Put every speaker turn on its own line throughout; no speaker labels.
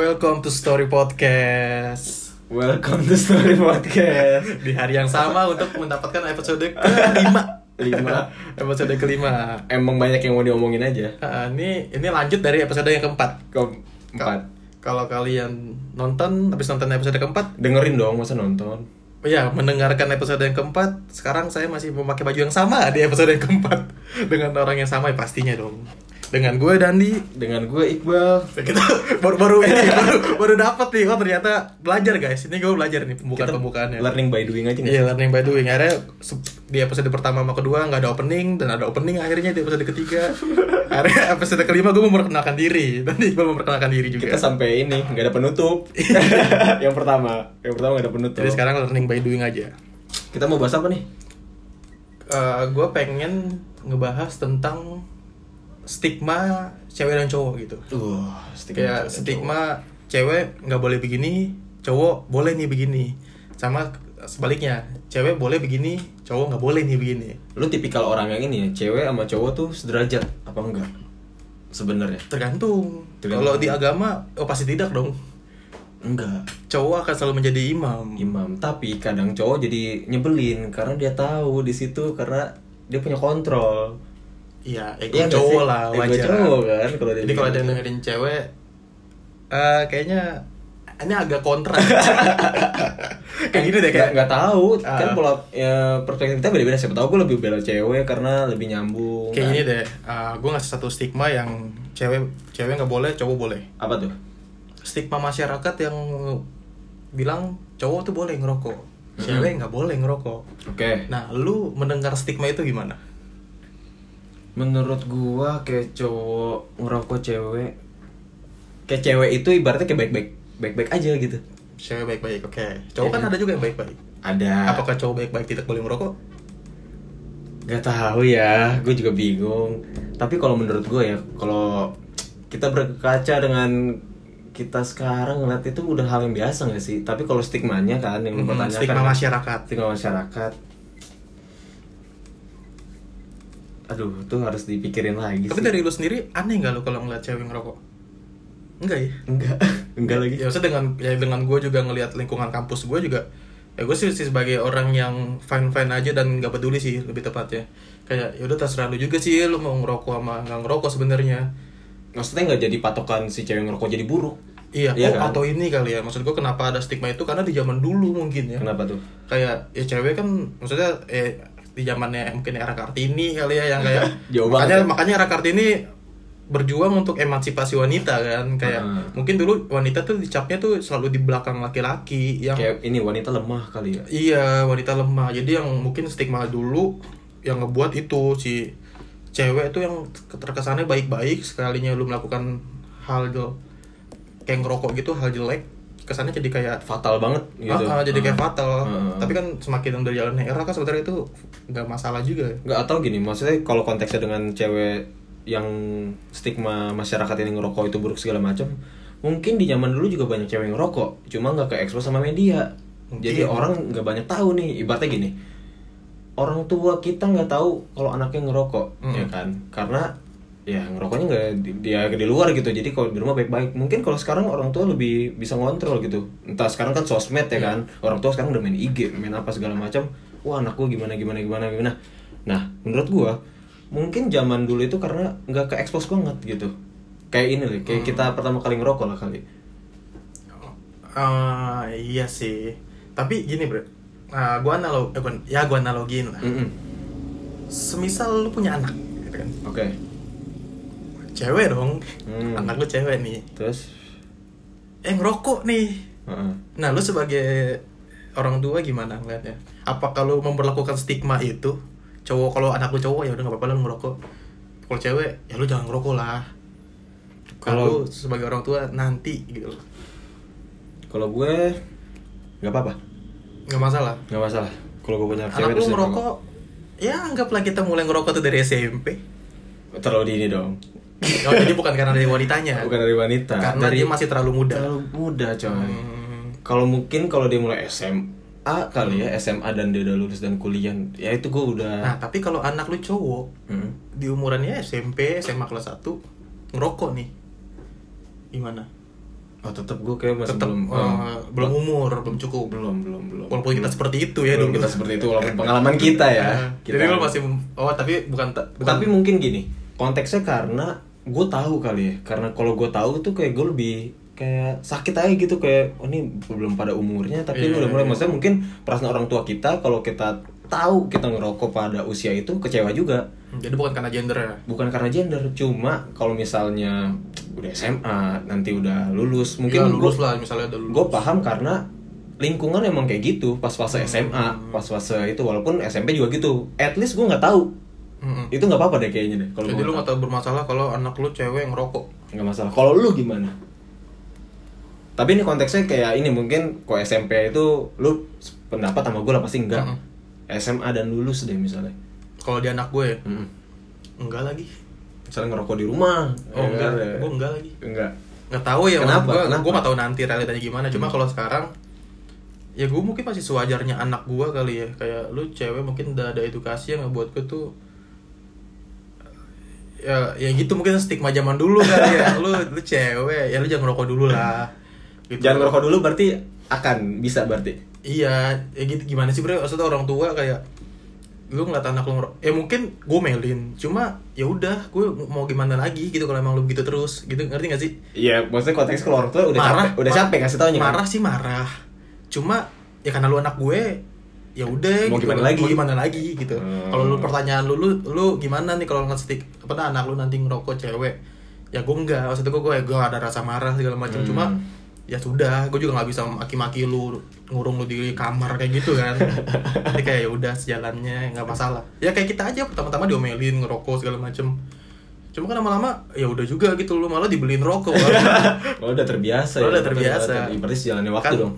Welcome to Story Podcast
Welcome to Story Podcast
Di hari yang sama untuk mendapatkan episode kelima
Lima.
Episode kelima
Emang banyak yang mau diomongin aja
Ah, Ini ini lanjut dari episode yang keempat
Keempat
Kalau kalian nonton, habis nonton episode keempat
Dengerin dong masa nonton
Ya, mendengarkan episode yang keempat Sekarang saya masih memakai baju yang sama di episode yang keempat Dengan orang yang sama ya pastinya dong Dengan gue Dandi
Dengan gue Iqbal
Ya, kita baru baru ini baru, baru dapat nih oh ternyata belajar guys ini gue belajar nih pembukaan
Kita
pembukaannya
Learning by doing aja nih
iya learning by doing akhirnya se- di episode pertama sama kedua nggak ada opening dan ada opening akhirnya di episode ketiga akhirnya episode kelima gue memperkenalkan diri nanti gue memperkenalkan diri juga
Kita sampai ini nggak ada penutup Yang pertama Yang pertama nggak ada penutup
jadi sekarang learning by doing aja
Kita mau bahas apa nih?
gue Eh, pengen ngebahas tentang stigma cewek dan cowok gitu
Uh,
kayak stigma cewek nggak boleh begini cowok boleh nih begini sama sebaliknya cewek boleh begini cowok nggak boleh nih begini
Lu tipikal orang yang ini ya Cewek sama cowok tuh sederajat Apa enggak? Sebenarnya
tergantung
Tergantung.
kalau di agama oh pasti tidak dong
Enggak
cowok akan selalu menjadi imam
Imam Tapi kadang cowok jadi nyebelin Karena dia tahu di situ Karena dia punya kontrol
iya ego
Iya nggak
cowok
sih?
lah
Ego
wajar
cowok kan, kalau dia
jadi kalau ada yang
bilang.
dengerin cewek eh, kayaknya ini agak kontra kayak gini deh kayak
nggak nggak Gitu tahu
Ah.
kan pola ya, perspektif kita beda-beda siapa tahu gue lebih bela cewek karena lebih nyambung
kayak
kan.
gini deh gue ngasih satu stigma yang cewek cewek nggak boleh cowok boleh
apa tuh
stigma masyarakat yang bilang cowok tuh boleh ngerokok, cewek nggak boleh ngerokok.
oke
Nah, lu mendengar stigma itu gimana?
menurut gua kayak cowok ngerokok cewek kayak cewek itu ibaratnya kayak baik-baik baik-baik aja gitu
Cewek baik-baik, oke.
Iya.
Cowok kan ada juga yang baik-baik.
ada
Apakah cowok baik-baik tidak boleh ngerokok?
nggak tahu ya gue juga bingung tapi kalau menurut gue ya kalau kita berkaca dengan kita sekarang ngeliat itu udah hal yang biasa nggak sih tapi kalau stigmanya kan yang lu
Hmm,
pertanyakan
stigma
kan.
masyarakat.
stigma masyarakat aduh itu harus dipikirin lagi
Tapi
sih.
dari lu sendiri aneh nggak lu kalau ngeliat cewek ngerokok? Enggak ya?
enggak enggak lagi
Ya maksudnya dengan ya dengan gue juga ngelihat lingkungan kampus gue juga ya gue sih, sih sebagai orang yang fine fine aja dan nggak peduli sih lebih tepatnya kayak ya udah terserah lu juga sih lu mau ngerokok sama nggak ngerokok sebenarnya
maksudnya nggak jadi patokan si cewek ngerokok jadi buruk
Iya,
Iya
oh,
kan?
atau ini kali ya. Maksud gue kenapa ada stigma itu karena di zaman dulu mungkin ya.
kenapa tuh
Kayak ya cewek kan maksudnya eh di zamannya mungkin era Kartini kali ya yang kayak
Jauh
makanya
banget ya.
makanya era Kartini berjuang untuk emansipasi wanita kan kayak
Hmm.
mungkin dulu wanita tuh dicapnya tuh selalu di belakang laki-laki yang
kayak ini wanita lemah kali ya
iya wanita lemah jadi yang mungkin stigma dulu yang ngebuat itu si cewek tuh yang terkesannya baik-baik sekalinya lu melakukan hal jel- kayak ngerokok gitu hal jelek kesannya jadi kayak
fatal banget gitu
Ah, ah, jadi kayak
Ah.
fatal
Ah.
tapi kan semakin dari jalannya era kan sebenarnya itu nggak masalah juga
nggak atau gini maksudnya kalau konteksnya dengan cewek yang stigma masyarakat ini ngerokok itu buruk segala macam mungkin di zaman dulu juga banyak cewek yang ngerokok cuma nggak ke expose sama media
Mungkin.
jadi orang nggak banyak tahu nih ibaratnya gini orang tua kita nggak tahu kalau anaknya ngerokok
Mm.
ya kan karena ya ngerokoknya nggak di, dia di luar gitu jadi kalau di rumah baik-baik mungkin kalau sekarang orang tua lebih bisa ngontrol gitu entah sekarang kan sosmed ya kan orang tua sekarang udah main IG main apa segala macam wah anak gua gimana gimana gimana gimana nah menurut gua mungkin zaman dulu itu karena nggak ke expose banget gitu kayak ini loh kayak kita pertama kali ngerokok lah kali
Ah, iya sih tapi gini bro Ah, gua analog eh, bukan, ya gua analogin lah
Mm-mm.
semisal lu punya anak gitu kan.
oke
cewek dong
Hmm.
anak lu cewek nih
terus
eh ngerokok nih
heeh.
Nah, lu sebagai orang tua gimana ngeliatnya? Apa kalau memperlakukan stigma itu? Cowok kalau anak lu cowok ya udah nggak apa-apa lah lu ngerokok. Kalau cewek ya lu jangan ngerokok lah. Kalau
Kalau-
lu sebagai orang tua nanti gitu loh.
kalau gue nggak apa-apa
Nggak masalah.
nggak masalah kalau gue punya
Anak
terus
lu
dia
ngerokok ya anggaplah kita mulai ngerokok tuh dari SMP.
terlalu dini dong
Oh, jadi bukan karena dari wanitanya.
bukan dari wanita
Ya. Karena
dari Nah.
dia masih terlalu muda.
terlalu muda coy
Hmm,
kalau mungkin kalau dia mulai SM kali ya SMA dan dia udah lulus dan kuliah ya itu gue udah
Nah, tapi kalau anak lu cowok
Hmm.
di umurannya SMP, SMA kelas 1 ngerokok nih. Gimana?
oh tetap gue kayak masih
Tetap
belum
belum,
oh,
belum umur, belum cukup.
belum belum belum
Walaupun kita seperti itu ya
belum
dulu.
kita seperti itu walaupun pengalaman kita ya
Nah,
kita,
Jadi lu masih oh tapi bukan ta- bukan
tapi mungkin gini konteksnya karena gue tahu kali ya karena kalau gue tahu tuh kayak gue lebih kayak sakit aja gitu kayak oh ini belum pada umurnya tapi ini
Iya,
udah
iya.
mulai maksudnya mungkin perasaan orang tua kita kalau kita tahu kita ngerokok pada usia itu kecewa juga
jadi bukan karena gender ya.
bukan karena gender cuma kalau misalnya udah SMA nanti udah lulus
Mungkin Iya,
mungkin
lulus lah misalnya udah lulus.
gue paham karena lingkungan emang kayak gitu pas
Hmm.
fase SMA pas fase itu walaupun SMP juga gitu at least gue nggak tahu
Mm-mm.
itu nggak apa-apa deh kayaknya deh kalau
Hmm. Jadi
gua
lu
nggak
nggak tahu bermasalah kalau anak lu cewek ngerokok.
tahu. nggak masalah kalau lu gimana tapi ini konteksnya kayak ini mungkin kok SMP itu lu pendapat sama gue lah pasti enggak
Mm-mm.
SMA dan lulus deh misalnya
Kalau di anak gue ya,
Mm-mm.
enggak lagi.
misalnya ngerokok di rumah
Oh,
ya
enggak.
kan, ya.
Gue enggak lagi.
enggak
nggak tahu ya
Kenapa?
gue
Kenapa? Hmm.
gue nggak tahu nanti realitanya gimana cuma kalau sekarang ya gue mungkin masih sewajarnya anak gue kali ya kayak lu cewek mungkin udah ada edukasi yang ngebuat gue tuh ya ya gitu mungkin stigma zaman dulu kali ya lu lu cewek ya lu jangan ngerokok dulu lah gitu.
jangan ngerokok dulu berarti akan bisa berarti
iya ya gitu gimana sih bro maksudnya orang tua kayak lu ngeliat anak lu ngerokok ya mungkin gue melin cuma ya udah gue mau gimana lagi gitu kalau emang lu begitu terus gitu ngerti gak sih
Iya, maksudnya konteks kalau orang tua udah
marah
capek, udah
ma-
capek ngasih taunya kan?
marah sih marah cuma ya karena lu anak gue ya udah
Mau
gitu.
gimana lagi?
mau gimana lagi gitu
Hmm.
kalau lu pertanyaan lu lu, lu gimana nih kalau ngestik apa nah, anak lu nanti ngerokok cewek ya gue enggak maksud gue gue gue ada rasa marah segala macam
Hmm.
cuma ya sudah gue juga nggak bisa maki-maki lu ngurung lu di kamar kayak gitu kan jadi kayak ya udah sejalannya nggak masalah ya kayak kita aja pertama-tama diomelin ngerokok segala macem cuma kan lama-lama ya udah juga gitu lu malah dibeliin rokok
Lo udah terbiasa
Lo
ya.
udah terbiasa.
Berarti berarti sejalannya waktu
Kan.
dong.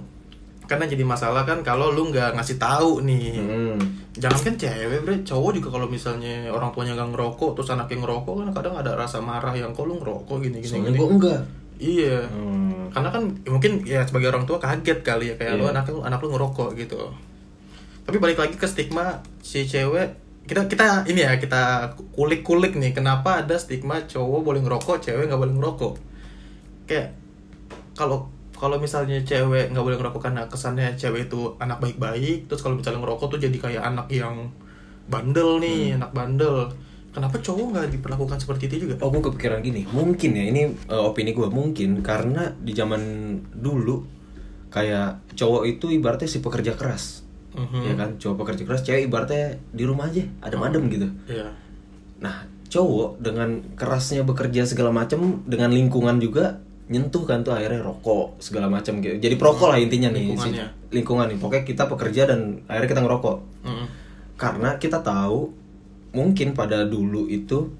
karena jadi masalah kan kalau lu nggak ngasih tahu nih
Hmm.
jangan kan cewek bre cowok juga kalau misalnya orang tuanya nggak ngerokok terus anaknya ngerokok kan kadang ada rasa marah yang kok lu ngerokok gini gini,
Soalnya
gini.
gue enggak.
iya
Hmm.
karena kan ya mungkin ya sebagai orang tua kaget kali ya kayak lu
Iya.
anak lu anak lu ngerokok gitu tapi balik lagi ke stigma si cewek kita kita ini ya kita kulik kulik nih kenapa ada stigma cowok boleh ngerokok cewek nggak boleh ngerokok kayak kalau kalau misalnya cewek nggak boleh ngerokok karena kesannya cewek itu anak baik-baik terus kalau misalnya ngerokok tuh jadi kayak anak yang bandel nih
Hmm.
anak bandel kenapa cowok nggak diperlakukan seperti itu juga
Oh gue kepikiran gini, mungkin ya ini uh, opini gue mungkin karena di zaman dulu kayak cowok itu ibaratnya si pekerja keras,
Mhm.
ya kan? Cowok pekerja keras, cewek ibaratnya di rumah aja, adem-adem gitu.
Iya.
Nah, cowok dengan kerasnya bekerja segala macam dengan lingkungan juga nyentuh kan tuh akhirnya rokok segala macam gitu. Jadi perokok lah intinya nih si-
Lingkungannya.
lingkungan nih. Pokoknya kita pekerja dan akhirnya kita ngerokok.
Mm-mm.
Karena kita tahu mungkin pada dulu itu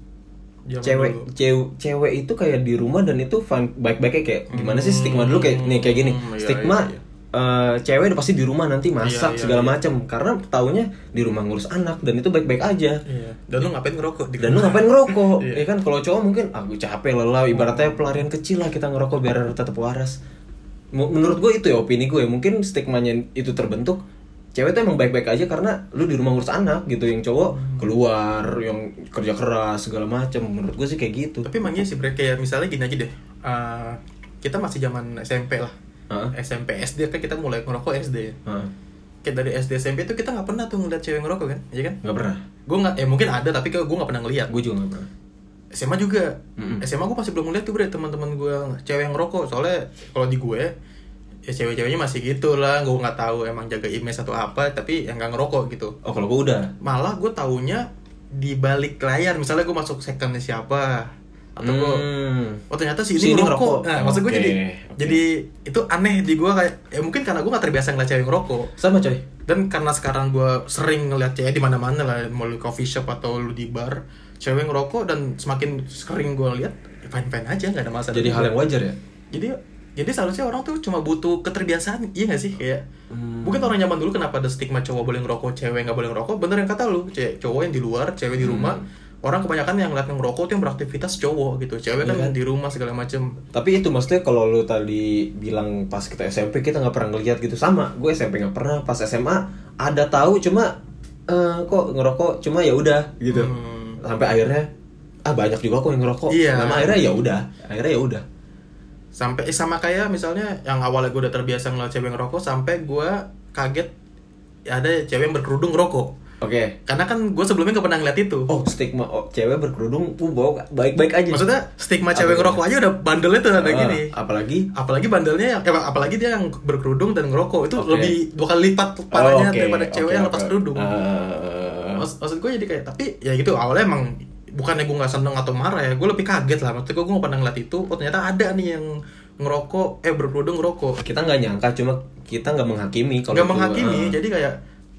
Zaman
cewek
Iya, kan, dulu.
cew- cewek itu kayak di rumah dan itu fun- baik-baiknya kayak gimana sih stigma dulu kayak nih kayak gini.
Hmm, iya,
stigma
iya, iya.
eh, cewek udah pasti di rumah nanti
Iya,
masak
iya,
segala
iya.
macam karena taunya di rumah ngurus anak dan itu baik-baik aja
Iya. Dan lu ngapain ngerokok? Di
dan
kamar?
lu ngapain ngerokok
Iya. Hmm.
ya kan kalau cowok mungkin aku capek lelah ibaratnya pelarian kecil lah kita ngerokok biar tetap waras Mu- menurut gue itu ya opini gue mungkin stigmanya itu terbentuk cewek tuh emang baik-baik aja karena lu di rumah ngurus anak gitu
Hmm.
yang cowok keluar yang kerja keras segala macam menurut gue sih kayak gitu
Tapi emang iya sih bre, kayak misalnya gini aja deh. Eh, kita masih zaman SMP lah.
Heeh.
SMP SD kan kita mulai ngerokok SD. ya.
Hah,
Kayak dari SD SMP tuh kita nggak pernah tuh ngeliat cewek ngerokok kan, iya kan?
nggak pernah
Gue nggak, eh mungkin ada tapi gue nggak pernah ngeliat.
gue juga nggak pernah
SMA juga.
Mm-mm.
SMA gue masih belum ngeliat tuh bre teman-teman gue cewek yang ngerokok. Soalnya kalau di gue ya cewek-ceweknya masih gitu lah. Gue nggak tahu emang jaga image atau apa, tapi yang nggak ngerokok gitu.
oh kalau gue udah
malah gue taunya di balik layar misalnya gue masuk secondnya siapa atau gue
Hmm.
oh ternyata si
Si
ini
ini
ngerokok,
ngerokok.
Nah, maksud gue
Oke,
jadi
oke.
jadi itu aneh di gue kayak ya mungkin karena gue gak terbiasa ngeliat cewek ngerokok
sama coy
dan karena sekarang gue sering ngeliat cewek di mana mana lah mau lu coffee shop atau lu di bar cewek ngerokok dan semakin sering gue lihat fine fine aja nggak ada masalah
jadi hal yang wajar ya
jadi jadi seharusnya orang tuh cuma butuh keterbiasaan iya gak sih kayak
Hmm.
mungkin orang zaman
Hmm.
dulu kenapa ada stigma cowok boleh ngerokok cewek nggak boleh ngerokok bener yang kata lu ce- cowok yang di luar cewek di rumah orang kebanyakan yang lihat ngerokok tuh yang beraktivitas cowok gitu cewek
Iya
kan di rumah segala macem
Tapi itu maksudnya kalau lu tadi bilang pas kita SMP kita nggak pernah ngeliat gitu sama. Gue SMP nggak pernah. Pas SMA ada tahu cuma eh, kok ngerokok cuma ya udah gitu. Sampai akhirnya ah banyak juga kok yang ngerokok.
Iya.
Lama akhirnya ya udah. Akhirnya ya udah.
sampai eh, sama kayak misalnya yang awalnya gue udah terbiasa ngeliat cewek ngerokok sampai gue kaget ya ada cewek yang berkerudung ngerokok
Oke.
karena kan gue sebelumnya gak pernah ngeliat itu
Oh stigma oh, cewek berkerudung tuh bau baik-baik aja.
maksudnya stigma
Apa
cewek
gimana?
ngerokok aja udah bandelnya tuh ada
Eh,
gini
Apalagi
apalagi bandelnya yang- eh, apalagi dia yang berkerudung dan ngerokok itu
Oke.
lebih dua kali lipat parahnya
Oh, oke,
daripada
oke,
cewek yang
oke. Eh,
lepas kerudung
Ah.
Maksud, maksud gue jadi kayak tapi ya gitu awalnya emang bukannya gue nggak seneng atau marah ya gue lebih kaget lah maksud gue gue nggak pernah ngeliat itu oh ternyata ada nih yang ngerokok eh berkerudung ngerokok
kita nggak nyangka cuma kita nggak menghakimi kalau
nggak
itu.
menghakimi
Ah.
jadi kayak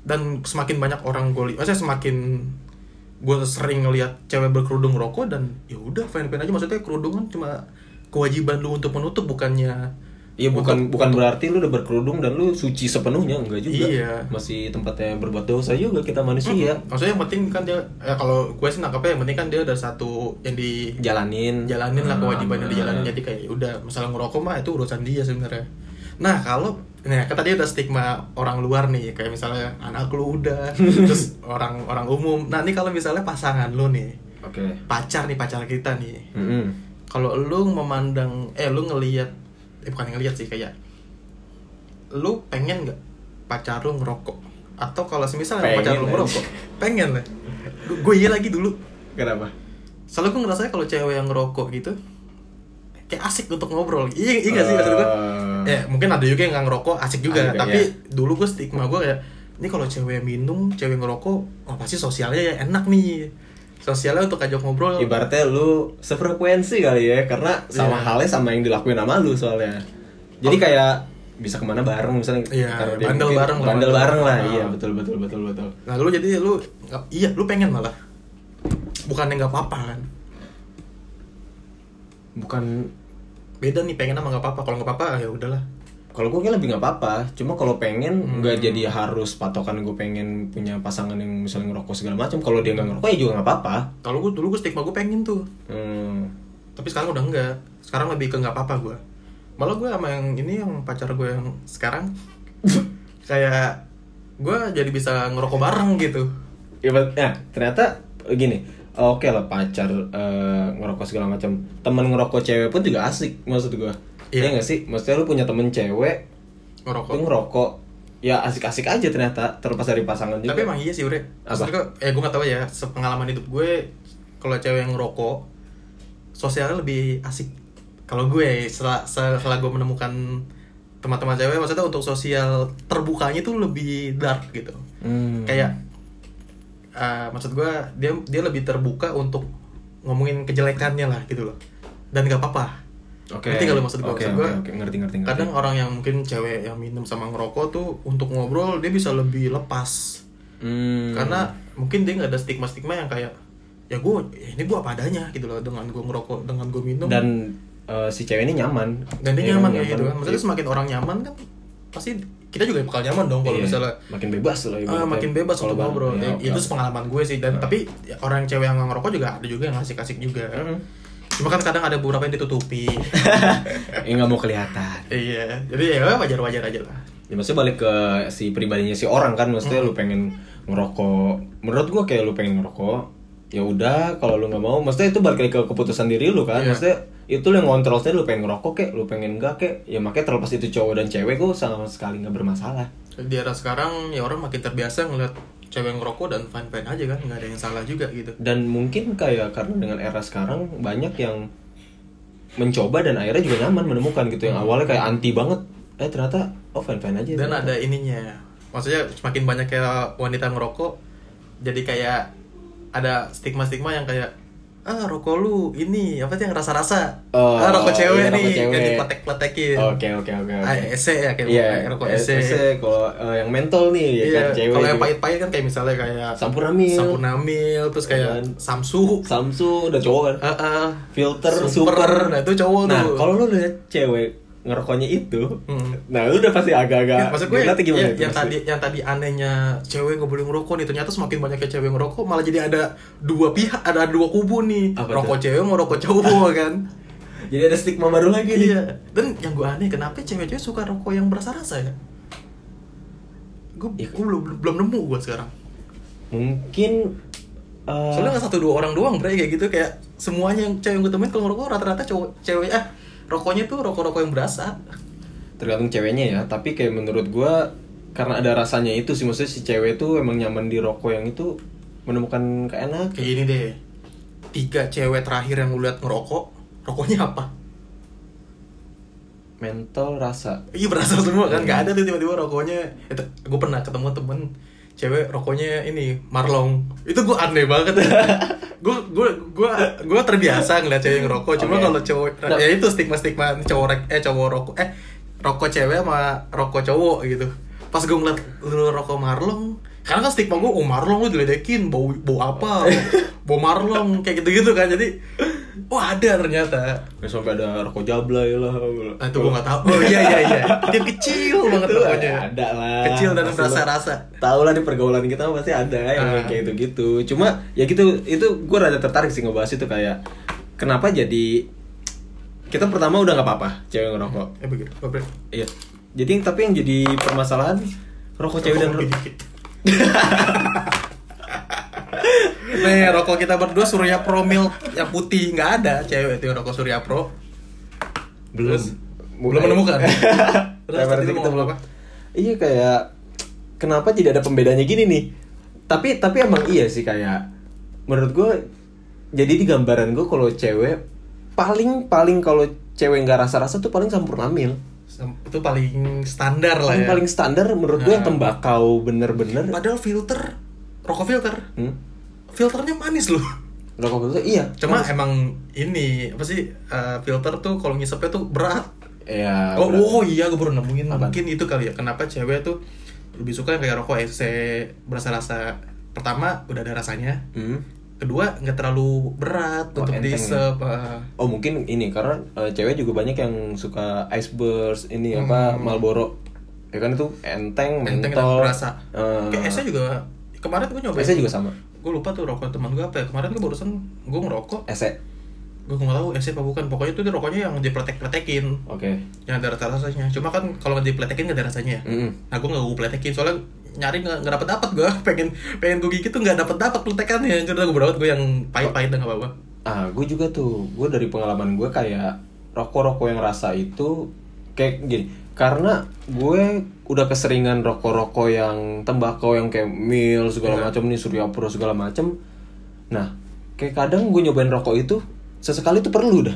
dan semakin banyak orang gue lihat maksudnya semakin gue sering ngeliat cewek berkerudung rokok dan ya udah fine fine aja maksudnya kerudung kan cuma kewajiban lu untuk menutup bukannya
Iya bukan bukan berarti lu udah berkerudung dan lu suci sepenuhnya enggak juga.
Iya.
Masih tempatnya berbuat dosa juga kita manusia.
maksudnya yang penting kan dia ya kalau gue sih nangkapnya yang penting kan dia ada satu yang di
Jalanin.
jalanin lah kewajiban yang
Ah.
dijalanin jadi kayak ya udah masalah ngerokok mah itu urusan dia sebenarnya nah kalau nah kan tadi udah stigma orang luar nih kayak misalnya anak lu udah terus orang orang umum nah ini kalau misalnya pasangan lu nih
Oke.
pacar nih pacar kita nih
Mm-mm.
kalau lu memandang eh lu ngelihat eh bukan ngelihat sih kayak lu pengen nggak pacar lu ngerokok atau kalau semisal emang pacar
Pengen
lu
aja.
ngerokok pengen lah gue iya lagi dulu
Kenapa?
soalnya gue ngerasa kalau cewek yang ngerokok gitu kayak asik untuk ngobrol iya iya nggak sih maksud gue ya
Eh,
mungkin ada juga yang nggak ngerokok asik juga
Ada,
tapi
iya.
dulu gue stigma gue kayak ini kalau cewek minum cewek ngerokok oh pasti sosialnya ya enak nih sosialnya untuk ajak ngobrol
Ibaratnya lu sefrekuensi kali ya karena
Iya. Oh.
sama halnya sama yang dilakuin sama lu soalnya. Jadi kayak bisa kemana bareng misalnya
Iya,
karena dia
bandel
mungkin-
bareng lah,
bandel
bandel.
bareng lah
Ah.
iya betul betul betul betul
Nah lu jadi lu nggak- iya lu pengen malah bukannya nggak apa-apa kan
bukan
beda nih pengen sama nggak apa-apa kalau nggak apa-apa ya udahlah
Kalau gue kayak lebih nggak apa-apa, cuma kalau
Hmm.
pengen nggak jadi harus patokan gue pengen punya pasangan yang misalnya ngerokok segala macam. Kalau dia nggak ngerokok ya juga nggak apa-apa.
kalau gue dulu gue stigma gue pengen tuh
Hmm.
tapi sekarang udah enggak sekarang lebih ke nggak apa-apa gue malah gue sama yang ini yang pacar gue yang sekarang kayak gue jadi bisa ngerokok bareng gitu
Ya, bet- nah, ternyata gini, oke lah pacar eh, ngerokok segala macam. Temen ngerokok cewek pun juga asik maksud gue.
Iya.
Iya nggak sih? Maksudnya lu punya temen cewek, lu
ngerokok
ngerokok, ya asik-asik aja ternyata terlepas dari pasangan juga.
tapi emang iya sih Ure
Apa?
Maksudnya, eh gue nggak tahu ya sepengalaman hidup gue kalau cewek yang ngerokok sosialnya lebih asik kalau gue setelah setelah gue menemukan teman-teman cewek maksudnya untuk sosial terbukanya itu lebih dark gitu
Hmm.
kayak eh, maksud gue dia dia lebih terbuka untuk ngomongin kejelekannya lah gitu loh dan nggak apa-apa
Oke.
ngerti nggak lu maksud gue?
Oke,
Maksud gue,
oke, oke, ngerti ngerti ngerti.
kadang orang yang mungkin cewek yang minum sama ngerokok tuh untuk ngobrol dia bisa lebih lepas
Hmm.
karena mungkin dia nggak ada stigma stigma yang kayak ya gue ini gue apa adanya gitu loh dengan gue ngerokok dengan gue minum
dan eh, si cewek ini nyaman
dan dia
Iya,
nyaman kayak gitu kan maksudnya semakin orang nyaman kan pasti kita juga bakal nyaman dong kalau
Iya.
misalnya
makin bebas loh
Ah,
ibaratnya.
makin bebas
Kalau
untuk
bareng,
ngobrol.
ya,
Ya,
oke, Iya.
itu
oke.
pengalaman gue sih dan tapi ya, orang cewek yang nggak ngerokok juga ada juga yang asik-asik juga.
Mm-mm.
Cuma kan kadang ada beberapa yang ditutupi.
ya nggak mau kelihatan
iya. Jadi ya wajar-wajar aja lah.
ya, maksudnya balik ke si pribadinya si orang kan maksudnya
Hmm.
lu pengen ngerokok menurut gua kayak lu pengen ngerokok ya udah kalau lu nggak mau maksudnya itu balik lagi ke keputusan diri lu kan
Iya.
maksudnya itu lu yang ngontrol sendiri lu pengen ngerokok kek lu pengen enggak kek ya makanya terlepas itu cowok dan cewek gua sama sekali nggak bermasalah
Di era sekarang ya orang makin terbiasa ngeliat cewek ngerokok dan fine-fine aja kan nggak ada yang salah juga gitu.
dan mungkin kayak karena dengan era sekarang banyak yang mencoba dan akhirnya juga nyaman menemukan gitu yang awalnya kayak anti banget eh ternyata oh fine fine aja
Hmm. Dan
ternyata.
ada ininya. Maksudnya semakin banyak kayak wanita ngerokok jadi kayak ada stigma-stigma yang kayak ah rokok lu ini apa sih yang rasa-rasa
Oh,
ah rokok cewek
iya, rokok
nih yang
cewek.
dipletek-pletekin
oke oke oke oke.
Ah, ese ya kayak
iya
rokok
eh,
ese.
ese. kalau eh, yang mentol nih ya kan
Iya,
cewek
kalau yang
juga.
pahit-pahit kan kayak misalnya kayak
Sampurna Mil.
Sampurnamil, terus kayak
Kan.
Samsu,
samsu udah cowok kan
eh, eh,
filter super,
Super, nah itu cowok
nah
tuh.
kalau lu lihat cewek ngerokoknya itu
Hmm.
nah lu udah pasti
Ya,
agak-agak
maksud gue
nanti gimana
ya,
tuh
yang
pasti?
tadi yang tadi anehnya cewek nggak boleh ngerokok nih ternyata semakin banyaknya cewek ngerokok malah jadi ada dua pihak ada dua kubu nih
Apa
rokok cewek mau rokok cowok kan
jadi ada stigma baru lagi nih
iya dan yang gue aneh kenapa cewek-cewek suka rokok yang berasa rasa ya gue
Iya.
gue belum belum nemu gue sekarang
mungkin eh,
Oh. soalnya nggak satu dua orang doang bre kayak gitu kayak semuanya yang cewek yang gue temuin kalau ngerokok rata-rata cowok cewek eh rokoknya tuh rokok-rokok yang berasa
tergantung ceweknya ya tapi kayak menurut gua karena ada rasanya itu sih maksudnya si cewek itu emang nyaman di rokok yang itu menemukan keenakan
kayak ini deh tiga cewek terakhir yang gue liat ngerokok rokoknya apa
mental rasa
Iya berasa semua kan, nggak ada tuh tiba-tiba rokoknya itu, Gue pernah ketemu temen cewek rokoknya ini Marlong Itu gue aneh banget Gue gue gue gue terbiasa ngeliat cewek yang rokok Cuma
Oke.
kalau cowok,
Nah.
ya itu stigma-stigma cowok rek- eh cowok rokok Eh rokok cewek sama rokok cowok gitu Pas gue ngeliat lu rokok Marlong Karena kan stigma gue, oh Marlong lu diledekin, bau, bau apa, bau Marlong, kayak gitu-gitu kan Jadi, oh ada ternyata
Ya, sampai ada rokok jabla ya lah
Nah, itu gue gak tau. Oh iya iya iya. Dia kecil banget
Itu
pokoknya.
ada lah.
Kecil dan
Pasti
rasa-rasa.
Tahu lah di pergaulan kita pasti ada ya, yang
Ah.
kayak gitu-gitu. Cuma ya gitu itu gue rada tertarik sih ngebahas itu kayak kenapa jadi kita pertama udah nggak apa-apa cewek ngerokok.
Eh begitu. Oke.
Iya. Jadi tapi yang jadi permasalahan rokok
Ya
cewek dan
Rokok dikit. Nih rokok kita berdua Surya Pro Milk yang putih nggak ada cewek itu rokok Surya Pro.
belum
Terus, belum menemukan. Terus tadi
Nah, berarti
lu
kita
mau
belum.
apa?
Iya kayak kenapa tidak ada pembedanya gini nih? Tapi tapi emang iya sih kayak menurut gue jadi di gambaran gue kalau cewek paling paling kalau cewek nggak rasa-rasa tuh paling sampurna mil.
Sem- Itu paling standar lah
Paling
ya.
paling standar menurut gue yang
Nah.
tembakau bener-bener.
Padahal filter rokok filter.
Hmm?
Filternya manis loh.
Rokok itu iya.
Cuma emang ini apa sih eh, filter tuh kalau ngisepnya tuh berat.
Ya.
Oh,
bener.
oh iya gue baru nemuin
Apa?
mungkin itu kali ya kenapa cewek tuh lebih suka yang kayak rokok SC berasa rasa pertama udah ada rasanya
Hmm?
kedua nggak terlalu berat
Oh,
untuk
enteng ya.
diisep ah.
Oh mungkin ini karena eh, cewek juga banyak yang suka ice burst ini
Hmm.
apa Marlboro ya kan itu enteng
enteng dan
mentol
berasa
Eh,
kayak SC juga ya? kemarin gue nyoba
Ese juga sama
gue lupa tuh rokok teman gue apa ya kemarin gue barusan gue ngerokok
Ese
gue nggak tahu SC apa bukan pokoknya itu dia rokoknya yang dipletek-pletekin
oke
yang ada rasa rasanya cuma kan kalau nggak dipletekin nggak ada rasanya ya
Mm-mm.
Nah gue gak gue pletekin soalnya nyari nggak nggak dapet dapet gue pengen pengen gue gigit tuh nggak dapet dapet pletekannya jadi gue berawat gue yang pahit pahit dan gak apa apa
ah gue juga tuh gue dari pengalaman gue kayak rokok-rokok yang rasa itu kayak gini karena gue udah keseringan rokok-rokok yang tembakau yang kayak mil segala
Hmm.
macam nih surya pro segala macam nah kayak kadang gue nyobain rokok itu sesekali tuh perlu dah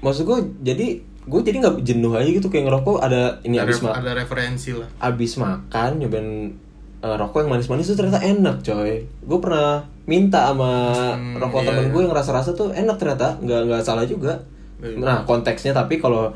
maksud gue jadi gue jadi nggak jenuh aja gitu kayak ngerokok ada ini
ada,
abis ma-
ada referensi lah
abis makan nyobain eh, rokok yang manis-manis itu ternyata enak coy gue pernah minta sama
Hmm, iya,
rokok temen
iya.
gue yang rasa-rasa tuh enak ternyata nggak nggak salah juga
Iya.
nah konteksnya tapi kalau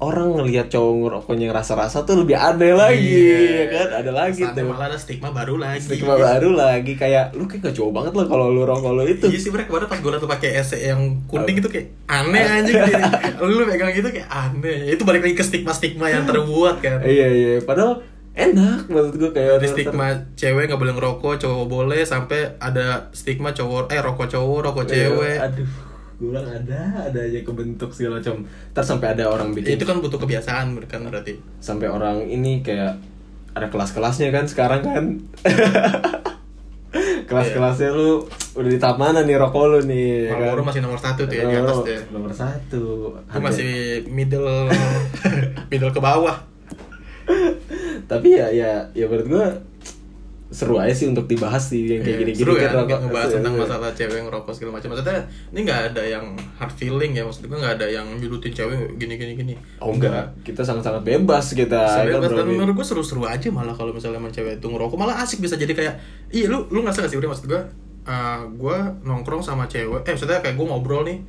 orang ngelihat cowok ngerokoknya yang rasa-rasa tuh lebih aneh lagi ya kan ada lagi
Sana
tuh
Iya. malah ada stigma baru lagi iya.
stigma baru lagi kayak lu kayak gak cowok banget lo kalau lu rokok lo itu
Iya sih bre, kemarin pas gue liat lu pakai SE yang kuning itu kayak aneh anjing kayak, Lu pegang gitu kayak aneh Itu balik lagi ke stigma-stigma yang terbuat kan
iya iya padahal enak maksud gue kayak
Dari stigma cewek nggak boleh ngerokok, cowok boleh Sampai ada stigma cowok, eh rokok cowok, rokok
Iya.
cewek
aduh gue bilang ada ada aja kebentuk segala macam Ntar sampai ada orang bikin
Itu kan butuh kebiasaan kan berarti
sampai orang ini kayak ada kelas-kelasnya kan sekarang kan kelas-kelasnya lu udah di tahap mana nih rokok lu nih ya kan?
Marlboro masih nomor satu tuh ya di atas
Nomor-
deh.
nomor satu
Gue masih middle middle ke bawah.
tapi ya ya ya menurut gue seru aja sih untuk dibahas sih yang
Iya,
kayak gini
seru
gini
ya
kan rokok.
ngebahas
Seru,
tentang
seru.
masalah cewek ngerokok segala macam. Maksudnya ini nggak ada yang hard feeling ya. Maksud gue nggak ada yang nyudutin cewek gini gini gini.
oh enggak kita sangat-sangat bebas kita ya kan,
Sebenarnya
Bro?
dan menurut gue seru-seru aja malah kalau misalnya emang cewek itu ngerokok malah asik bisa jadi kayak iya lu lu nggak sih udah maksud gue eh gue nongkrong sama cewek eh maksudnya kayak gue ngobrol nih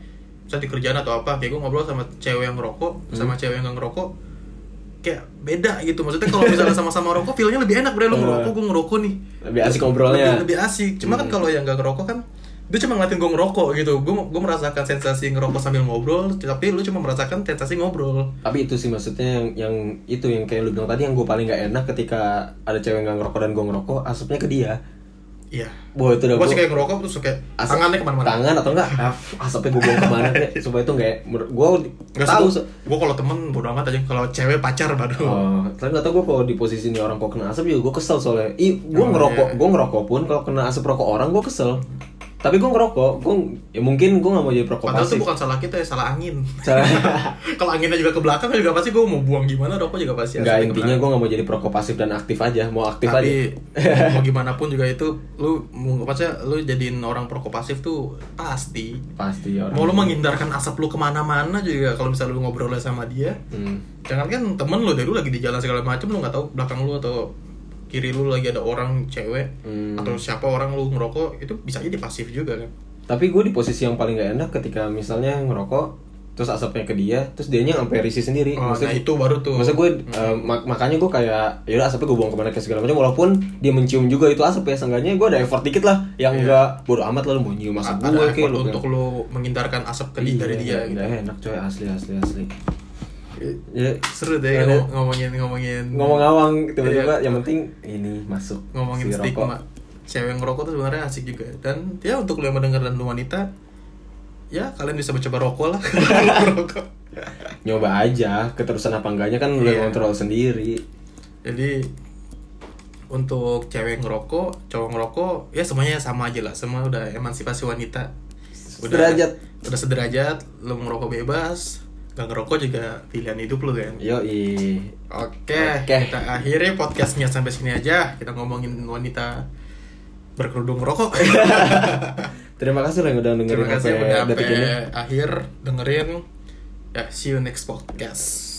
misalnya di kerjaan atau apa kayak gue ngobrol sama cewek yang
Hmm.
ngerokok sama cewek yang nggak ngerokok kayak beda gitu maksudnya kalau misalnya sama-sama rokok feelnya lebih enak udah lu
Eh.
ngerokok gue ngerokok nih
Lebih asik ngobrolnya. Hmm.
lebih, lebih asik cuma kan kalau yang nggak ngerokok kan dia cuma ngeliatin gue ngerokok gitu gue gue merasakan sensasi ngerokok sambil ngobrol tapi lu cuma merasakan sensasi ngobrol
tapi itu sih maksudnya yang, yang itu yang kayak lu bilang tadi yang gue paling nggak enak ketika ada cewek nggak ngerokok dan gue ngerokok asapnya ke dia
iya
Wah itu udah
gue
gua-
sih kayak ngerokok terus kayak
Asap-
tangannya kemana-mana
tangan atau enggak ah, asapnya gue buang kemana deh supaya itu nggak gue
Gak
tahu
tahu
se-
gue kalau temen bodo amat aja kalau cewek pacar baru
Oh, tapi gak tau gue kalau di posisi ini orang kok kena asap juga gue kesel soalnya. Ih, gue
Oh,
ngerokok,
iya.
gue ngerokok pun kalau kena asap rokok orang gue kesel. Tapi gue ngerokok, gue ya mungkin gue gak mau jadi perokok
padahal itu
pasif.
bukan salah kita ya salah angin
Salah-
kalau anginnya juga ke belakang juga pasti gue mau buang gimana rokok juga pasti
Enggak,
asapnya ke
intinya
belakang.
gue gak mau jadi perokok pasif dan aktif aja, mau aktif aja.
tapi mau gimana pun juga itu lu mau- maksudnya lu jadiin orang perokok pasif tuh pasti
Pasti ya orang. gitu.
mau lu menghindarkan asap lu kemana-mana juga kalau misalnya lu ngobrol sama dia
Hmm.
jangan kan temen lu dari lu lagi di jalan segala macem lu nggak tahu belakang lu atau kiri lu lagi ada orang cewek
Hmm.
atau siapa orang lu ngerokok itu bisa jadi pasif juga kan
Tapi gue di posisi yang paling gak enak ketika misalnya ngerokok terus asapnya ke dia, terus dianya sampai risih sendiri.
oh, nah
Maksudnya-
itu Hmm. baru tuh
Maksud gue eh, mak- makanya gue kayak yaudah asapnya gue buang kemana ke segala macam walaupun dia mencium juga itu asap ya seenggaknya gue ada effort dikit lah yang
Iya.
enggak bodo amat lah lu mau nyium
A- ada
asap gue kayak gitu
effort
lu Iya,
untuk lu menghindarkan asap ke dari dia gitu.
enak coy asli asli asli ya
seru deh
Ada-
ngom- ngomongin ngomongin
ngomong awang tiba-tiba yang penting ini masuk
Iya. ngomongin
si rokok.
stigma cewek ngerokok tuh sebenarnya asik juga dan ya untuk lo yang mendengar dan lu wanita ya kalian bisa mencoba rokok lah Rokok.
nyoba aja keterusan apa enggaknya kan lu
Iya.
yang kontrol sendiri
jadi untuk cewek ngerokok cowok ngerokok ya semuanya sama aja lah semua udah emansipasi wanita
Sederajat.
udah sederajat lo ngerokok bebas gak ngerokok juga pilihan hidup lo kan
yo
Oke,
Iya. Oke.
kita akhiri podcastnya sampai sini aja. Kita ngomongin wanita berkerudung rokok.
Iya. terima kasih lah yang ya, udah dengerin
Terima kasih
sampai
udah
detik ini
sampai akhir dengerin. Ya, see you next podcast.